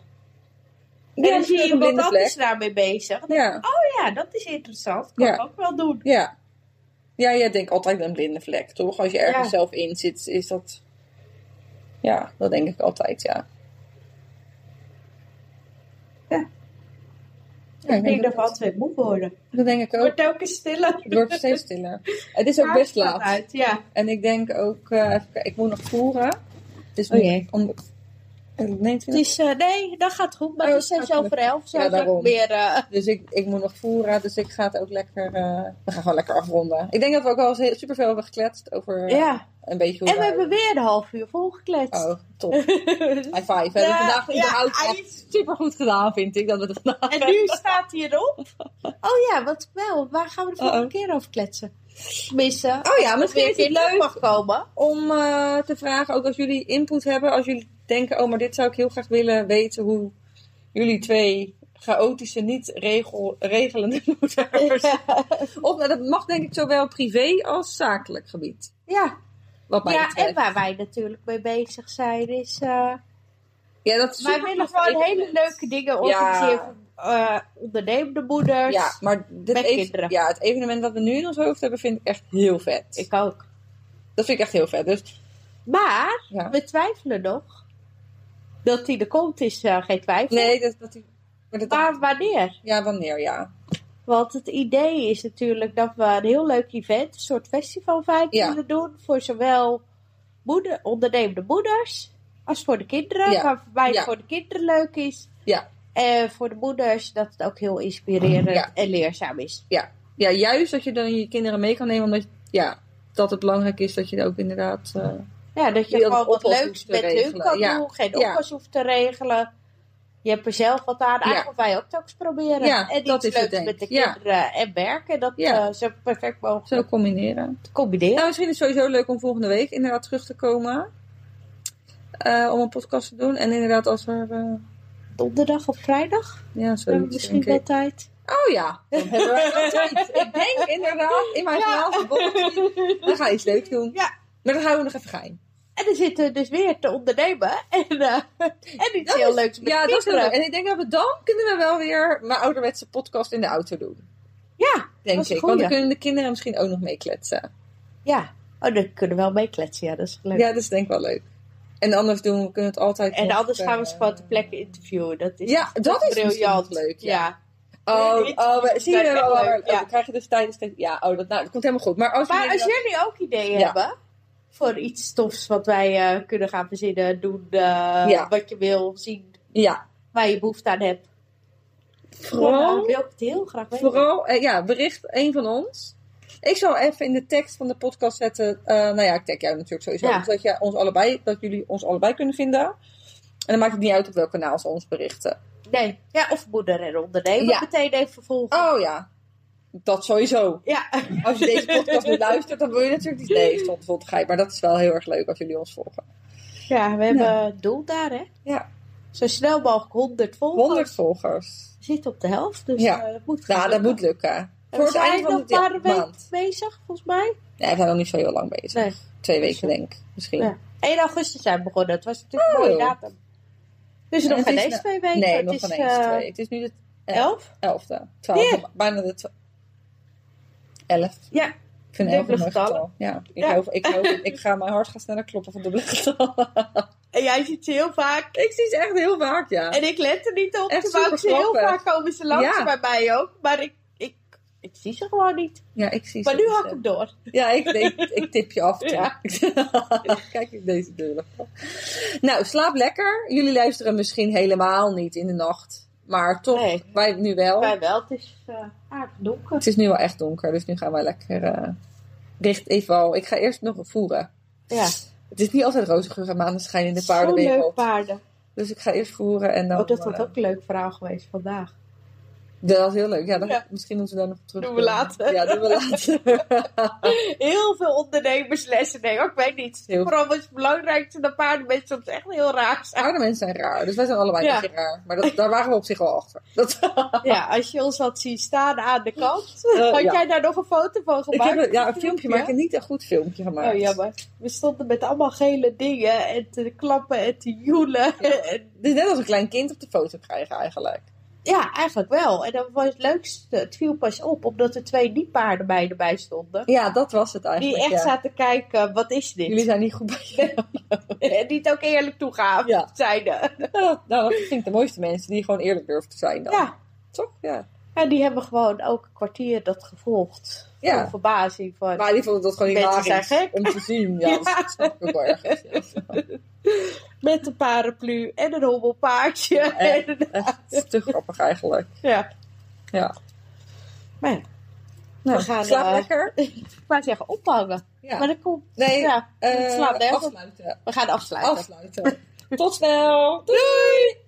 Speaker 4: En
Speaker 3: Ja,
Speaker 4: dan zie
Speaker 3: misschien
Speaker 4: je
Speaker 3: ook een
Speaker 4: iemand
Speaker 3: blinde
Speaker 4: anders daarmee bezig. Dan
Speaker 3: Ja.
Speaker 4: denk je, ja, dat is interessant. Kan
Speaker 3: Ja.
Speaker 4: ik ook wel doen.
Speaker 3: Ja. Ja, jij denkt altijd een blinde vlek, toch? Als je ergens
Speaker 4: Ja.
Speaker 3: zelf in zit, is dat... Ja, dat denk ik altijd, ja.
Speaker 4: Ja.
Speaker 3: Ja,
Speaker 4: ik denk dat we altijd moe worden.
Speaker 3: dat denk ik
Speaker 4: Het
Speaker 3: ook.
Speaker 4: wordt telkens stiller.
Speaker 3: Het wordt steeds stiller. Het is ook best
Speaker 4: Kaars gaat
Speaker 3: laat.
Speaker 4: Uit. Ja.
Speaker 3: En ik denk ook... eh, even kijken, ik moet nog voeren. Dus
Speaker 4: Oh jee.
Speaker 3: Om, om, nee,
Speaker 4: Het is, eh, nee, dat gaat goed, maar
Speaker 3: Oh,
Speaker 4: het is
Speaker 3: dat
Speaker 4: zelfs
Speaker 3: gaat
Speaker 4: over elf. Zo
Speaker 3: Ja,
Speaker 4: zou ik
Speaker 3: daarom.
Speaker 4: meer, eh,
Speaker 3: Dus ik, ik moet nog voeren, dus ik ga het ook lekker... eh, we gaan gewoon lekker afronden. Ik denk dat we ook al heel- superveel hebben gekletst over eh,
Speaker 4: ja.
Speaker 3: een beetje hoe
Speaker 4: En we
Speaker 3: wij-
Speaker 4: hebben weer een half uur volgekletst.
Speaker 3: Oh, top. High five. We hebben
Speaker 4: Ja,
Speaker 3: vandaag
Speaker 4: ja,
Speaker 3: überhaupt
Speaker 4: hij
Speaker 3: echt supergoed gedaan, vind ik. Dat we het gedaan
Speaker 4: En nu staat hij erop. Oh ja, wat wel. Waar gaan we de volgende
Speaker 3: Uh-oh.
Speaker 4: keer over kletsen? Tenminste,
Speaker 3: Oh ja,
Speaker 4: als
Speaker 3: misschien
Speaker 4: weer een
Speaker 3: is het
Speaker 4: keer leuk
Speaker 3: leuk
Speaker 4: mag komen.
Speaker 3: om eh, te vragen, ook als jullie input hebben. Als jullie denken, oh, maar dit zou ik heel graag willen weten hoe jullie twee chaotische, niet regel, regelende moeders. Of nou, dat mag denk ik zowel privé als zakelijk gebied.
Speaker 4: Ja,
Speaker 3: Wat mij
Speaker 4: ja en
Speaker 3: betreft.
Speaker 4: waar wij natuurlijk mee bezig zijn is... eh,
Speaker 3: Ja, dat is
Speaker 4: wij
Speaker 3: super
Speaker 4: willen
Speaker 3: graag
Speaker 4: gewoon
Speaker 3: even-
Speaker 4: hele leuke dingen organiseren voor eh, ondernemende moeders.
Speaker 3: Ja, maar dit
Speaker 4: Met
Speaker 3: even-
Speaker 4: kinderen.
Speaker 3: ja, het evenement dat we nu in ons hoofd hebben, vind ik echt heel vet.
Speaker 4: Ik ook.
Speaker 3: Dat vind ik echt heel vet. Dus
Speaker 4: Maar
Speaker 3: ja.
Speaker 4: we twijfelen nog. Dat hij er komt is eh, geen twijfel.
Speaker 3: Nee, dat, dat, maar dat,
Speaker 4: Maar wanneer?
Speaker 3: Ja, wanneer, ja.
Speaker 4: Want het idee is natuurlijk dat we een heel leuk event, een soort festival
Speaker 3: Ja.
Speaker 4: willen doen. Voor zowel moeder, ondernemende moeders als voor de kinderen.
Speaker 3: Ja.
Speaker 4: Waarbij het
Speaker 3: Ja.
Speaker 4: voor de kinderen leuk is.
Speaker 3: Ja.
Speaker 4: En voor de moeders dat het ook heel inspirerend
Speaker 3: Ja.
Speaker 4: en leerzaam is.
Speaker 3: Ja, juist dat je dan je kinderen mee kan nemen, omdat ja, dat het belangrijk is dat je ook inderdaad... eh,
Speaker 4: Ja, dat je
Speaker 3: Die
Speaker 4: gewoon
Speaker 3: dat
Speaker 4: wat
Speaker 3: oppas
Speaker 4: leuks
Speaker 3: hoeft te
Speaker 4: met hun
Speaker 3: regelen.
Speaker 4: kan
Speaker 3: Ja.
Speaker 4: doen. Geen
Speaker 3: Ja.
Speaker 4: oppas hoeft te regelen. Je hebt er zelf wat aan. Eigenlijk wij ook telkens proberen.
Speaker 3: Ja,
Speaker 4: en
Speaker 3: dat
Speaker 4: iets
Speaker 3: is het,
Speaker 4: leuks
Speaker 3: denk
Speaker 4: met de
Speaker 3: ik. Ja.
Speaker 4: kinderen en werken. Dat
Speaker 3: Ja.
Speaker 4: eh, zo perfect
Speaker 3: zo
Speaker 4: mogelijk
Speaker 3: combineren.
Speaker 4: te combineren.
Speaker 3: Nou, misschien is het sowieso leuk om volgende week inderdaad terug te komen. eh, om een podcast te doen. En inderdaad als we... eh,
Speaker 4: Donderdag of vrijdag.
Speaker 3: ja,
Speaker 4: We hebben
Speaker 3: zoiets
Speaker 4: misschien
Speaker 3: denk
Speaker 4: wel
Speaker 3: ik.
Speaker 4: tijd.
Speaker 3: Oh ja, dan hebben we wel tijd. Ik denk inderdaad, in mijn glazen bolletje, we gaan iets leuks doen.
Speaker 4: Ja.
Speaker 3: Maar dat houden we nog even geheim.
Speaker 4: En er zitten dus weer te ondernemen. En, eh en iets
Speaker 3: Dat
Speaker 4: heel
Speaker 3: is-
Speaker 4: leuks met
Speaker 3: ja, dat is wel leuk.
Speaker 4: kinderen.
Speaker 3: En ik denk dat we dan kunnen we wel weer mijn ouderwetse podcast in de auto doen.
Speaker 4: Ja,
Speaker 3: Denk
Speaker 4: Dat is een
Speaker 3: ik. Want dan
Speaker 4: goeie.
Speaker 3: kunnen de kinderen misschien ook nog meekletsen.
Speaker 4: ja. Oh, dan kunnen we wel meekletsen. Ja, dat is leuk.
Speaker 3: Ja, dat is denk ik wel leuk. En anders doen we kunnen het altijd.
Speaker 4: En
Speaker 3: nog,
Speaker 4: anders gaan we
Speaker 3: eh,
Speaker 4: ze gewoon ter plekke interviewen. Dat is
Speaker 3: Ja, dat is briljant. leuk. Ja. Oh,
Speaker 4: Dit-
Speaker 3: oh, we- zie je
Speaker 4: dit-
Speaker 3: wel.
Speaker 4: dit-
Speaker 3: wel- wel-
Speaker 4: ja.
Speaker 3: Dan krijg je dus tijdens. Ja, oh, dat, nou, dat komt helemaal goed. Maar als,
Speaker 4: Maar
Speaker 3: jullie
Speaker 4: als
Speaker 3: dan-
Speaker 4: jullie ook ideeën
Speaker 3: Ja.
Speaker 4: hebben voor iets tofs wat wij eh, kunnen gaan verzinnen, doen eh,
Speaker 3: Ja.
Speaker 4: wat je wil zien,
Speaker 3: Ja,
Speaker 4: waar je behoefte aan hebt.
Speaker 3: vooral.
Speaker 4: Dan wil ik het heel graag weten.
Speaker 3: Vooral, eh, ja, bericht één van ons. Ik zal even in de tekst van de podcast zetten. eh, nou ja, ik tag jou natuurlijk sowieso.
Speaker 4: Ja.
Speaker 3: Zodat je ons allebei, dat jullie ons allebei kunnen vinden. En dan maakt het niet uit op welk kanaal ze ons berichten.
Speaker 4: Nee, ja, of moeder en ondernemer
Speaker 3: Ja.
Speaker 4: meteen even vervolgen.
Speaker 3: Oh ja, dat sowieso.
Speaker 4: Ja,
Speaker 3: Als je deze podcast nu luistert, dan wil je natuurlijk niet. Nee, stond vol te grijpen. Maar dat is wel heel erg leuk als jullie ons volgen.
Speaker 4: ja we hebben het doel daar, hè?
Speaker 3: Ja.
Speaker 4: Zo snel mogelijk 100 volgers.
Speaker 3: 100 volgers.
Speaker 4: We zitten op de helft, dus
Speaker 3: Ja.
Speaker 4: eh, dat moet gaan.
Speaker 3: Nou, dat moet lukken.
Speaker 4: Voor we
Speaker 3: het
Speaker 4: zijn
Speaker 3: eind
Speaker 4: nog
Speaker 3: de
Speaker 4: maar een week
Speaker 3: maand.
Speaker 4: bezig, volgens mij.
Speaker 3: Nee, we zijn nog niet zo heel lang bezig.
Speaker 4: Nee.
Speaker 3: Twee weken, denk ik. Misschien.
Speaker 4: Ja. 1 augustus zijn we begonnen. Het was natuurlijk een
Speaker 3: Oh.
Speaker 4: mooie datum. Dus
Speaker 3: En
Speaker 4: nog
Speaker 3: het
Speaker 4: geen
Speaker 3: is
Speaker 4: eens
Speaker 3: na-
Speaker 4: twee weken.
Speaker 3: Nee,
Speaker 4: het
Speaker 3: nog
Speaker 4: is,
Speaker 3: geen eens
Speaker 4: eh,
Speaker 3: twee. Het is nu de
Speaker 4: Elf?
Speaker 3: 11e, 12e,
Speaker 4: Ja.
Speaker 3: bijna de 11.
Speaker 4: Ja.
Speaker 3: Ik vind het heel
Speaker 4: Dubbele
Speaker 3: mooi getal.
Speaker 4: getallen.
Speaker 3: Ja, ik,
Speaker 4: Ja.
Speaker 3: Hoop, ik, hoop, ik ga mijn hart gaan sneller kloppen van dubbele getallen.
Speaker 4: En jij ziet ze heel vaak.
Speaker 3: ik zie ze echt heel vaak, ja.
Speaker 4: En ik let er niet op.
Speaker 3: Echt
Speaker 4: Terwijl ik ze heel
Speaker 3: supergrappig.
Speaker 4: vaak komen ze langs
Speaker 3: Ja.
Speaker 4: bij mij ook. Maar ik, ik, ik zie ze gewoon niet.
Speaker 3: ja, ik zie
Speaker 4: Maar
Speaker 3: ze.
Speaker 4: nu hak ik hem door.
Speaker 3: Ja, ik, ik, ik tip je af.
Speaker 4: Ja.
Speaker 3: Ja. Kijk ik deze deur. Nou, slaap lekker. Jullie luisteren misschien helemaal niet in de nacht. Maar toch,
Speaker 4: Nee.
Speaker 3: wij nu wel.
Speaker 4: Bij wel, het is eh, aardig donker.
Speaker 3: Het is nu wel echt donker, dus nu gaan wij lekker eh, richt even al. Ik ga eerst nog voeren.
Speaker 4: Ja.
Speaker 3: Het is niet altijd roze geur en maneschijn in de
Speaker 4: Zo'n leuk
Speaker 3: paardenwereld.
Speaker 4: paarden.
Speaker 3: Dus ik ga eerst voeren en dan.
Speaker 4: Oh, dat was
Speaker 3: eh,
Speaker 4: ook een leuk verhaal geweest vandaag.
Speaker 3: dat was heel leuk. Ja, dat,
Speaker 4: Ja.
Speaker 3: misschien moeten we daar nog op terug.
Speaker 4: Doen we later.
Speaker 3: Ja, doen we later.
Speaker 4: Heel veel ondernemerslessen. Nee, hoor, ik weet niet.
Speaker 3: Heel-
Speaker 4: Vooral is het belangrijkste dat paarden mensen soms echt heel raar zijn.
Speaker 3: Oude mensen zijn raar, dus wij zijn allebei
Speaker 4: Ja.
Speaker 3: een beetje raar. Maar dat, daar waren we op zich wel achter. Dat,
Speaker 4: Ja, als je ons had zien staan aan de kant,
Speaker 3: Eh,
Speaker 4: had
Speaker 3: ja.
Speaker 4: jij daar nog een foto van
Speaker 3: ik
Speaker 4: gemaakt?
Speaker 3: heb een, ja, een filmpje
Speaker 4: Ja?
Speaker 3: maken, niet een goed filmpje gemaakt.
Speaker 4: Oh, jammer. We stonden met allemaal gele dingen en te klappen en te joelen. Ja, en,
Speaker 3: Eh, Het is net als een klein kind op de foto krijgen eigenlijk.
Speaker 4: ja eigenlijk wel. En dan was het leukste, het viel pas op, omdat er twee niet-paardenmeiden bij stonden.
Speaker 3: Ja, dat was het eigenlijk.
Speaker 4: Die echt
Speaker 3: ja.
Speaker 4: zaten kijken, wat is dit?
Speaker 3: Jullie zijn niet goed bij
Speaker 4: En die het ook eerlijk toegaven,
Speaker 3: Ja.
Speaker 4: zeiden.
Speaker 3: Nou, dat vind ik de mooiste mensen die gewoon eerlijk durven te zijn dan.
Speaker 4: Ja,
Speaker 3: Toch? Ja.
Speaker 4: en die hebben gewoon ook een kwartier dat gevolgd.
Speaker 3: Ja.
Speaker 4: Van verbazing. Van,
Speaker 3: Maar die vonden dat gewoon
Speaker 4: Mensen
Speaker 3: hilarisch
Speaker 4: zijn gek.
Speaker 3: om te zien. Ja, dat
Speaker 4: Ja.
Speaker 3: snap ik ook wel ergens. Ja.
Speaker 4: Met een paraplu en een hobbelpaardje.
Speaker 3: echt.
Speaker 4: en een-
Speaker 3: Echt, het is te grappig eigenlijk.
Speaker 4: ja.
Speaker 3: Ja.
Speaker 4: Maar ja,
Speaker 3: Nou,
Speaker 4: We gaan,
Speaker 3: slaap
Speaker 4: eh,
Speaker 3: lekker.
Speaker 4: ik wou zeggen ophangen.
Speaker 3: Ja.
Speaker 4: Maar dat komt.
Speaker 3: nee,
Speaker 4: ja,
Speaker 3: eh,
Speaker 4: het slaat nergens op.
Speaker 3: afsluiten.
Speaker 4: We gaan afsluiten.
Speaker 3: Afsluiten. Tot snel. Doei!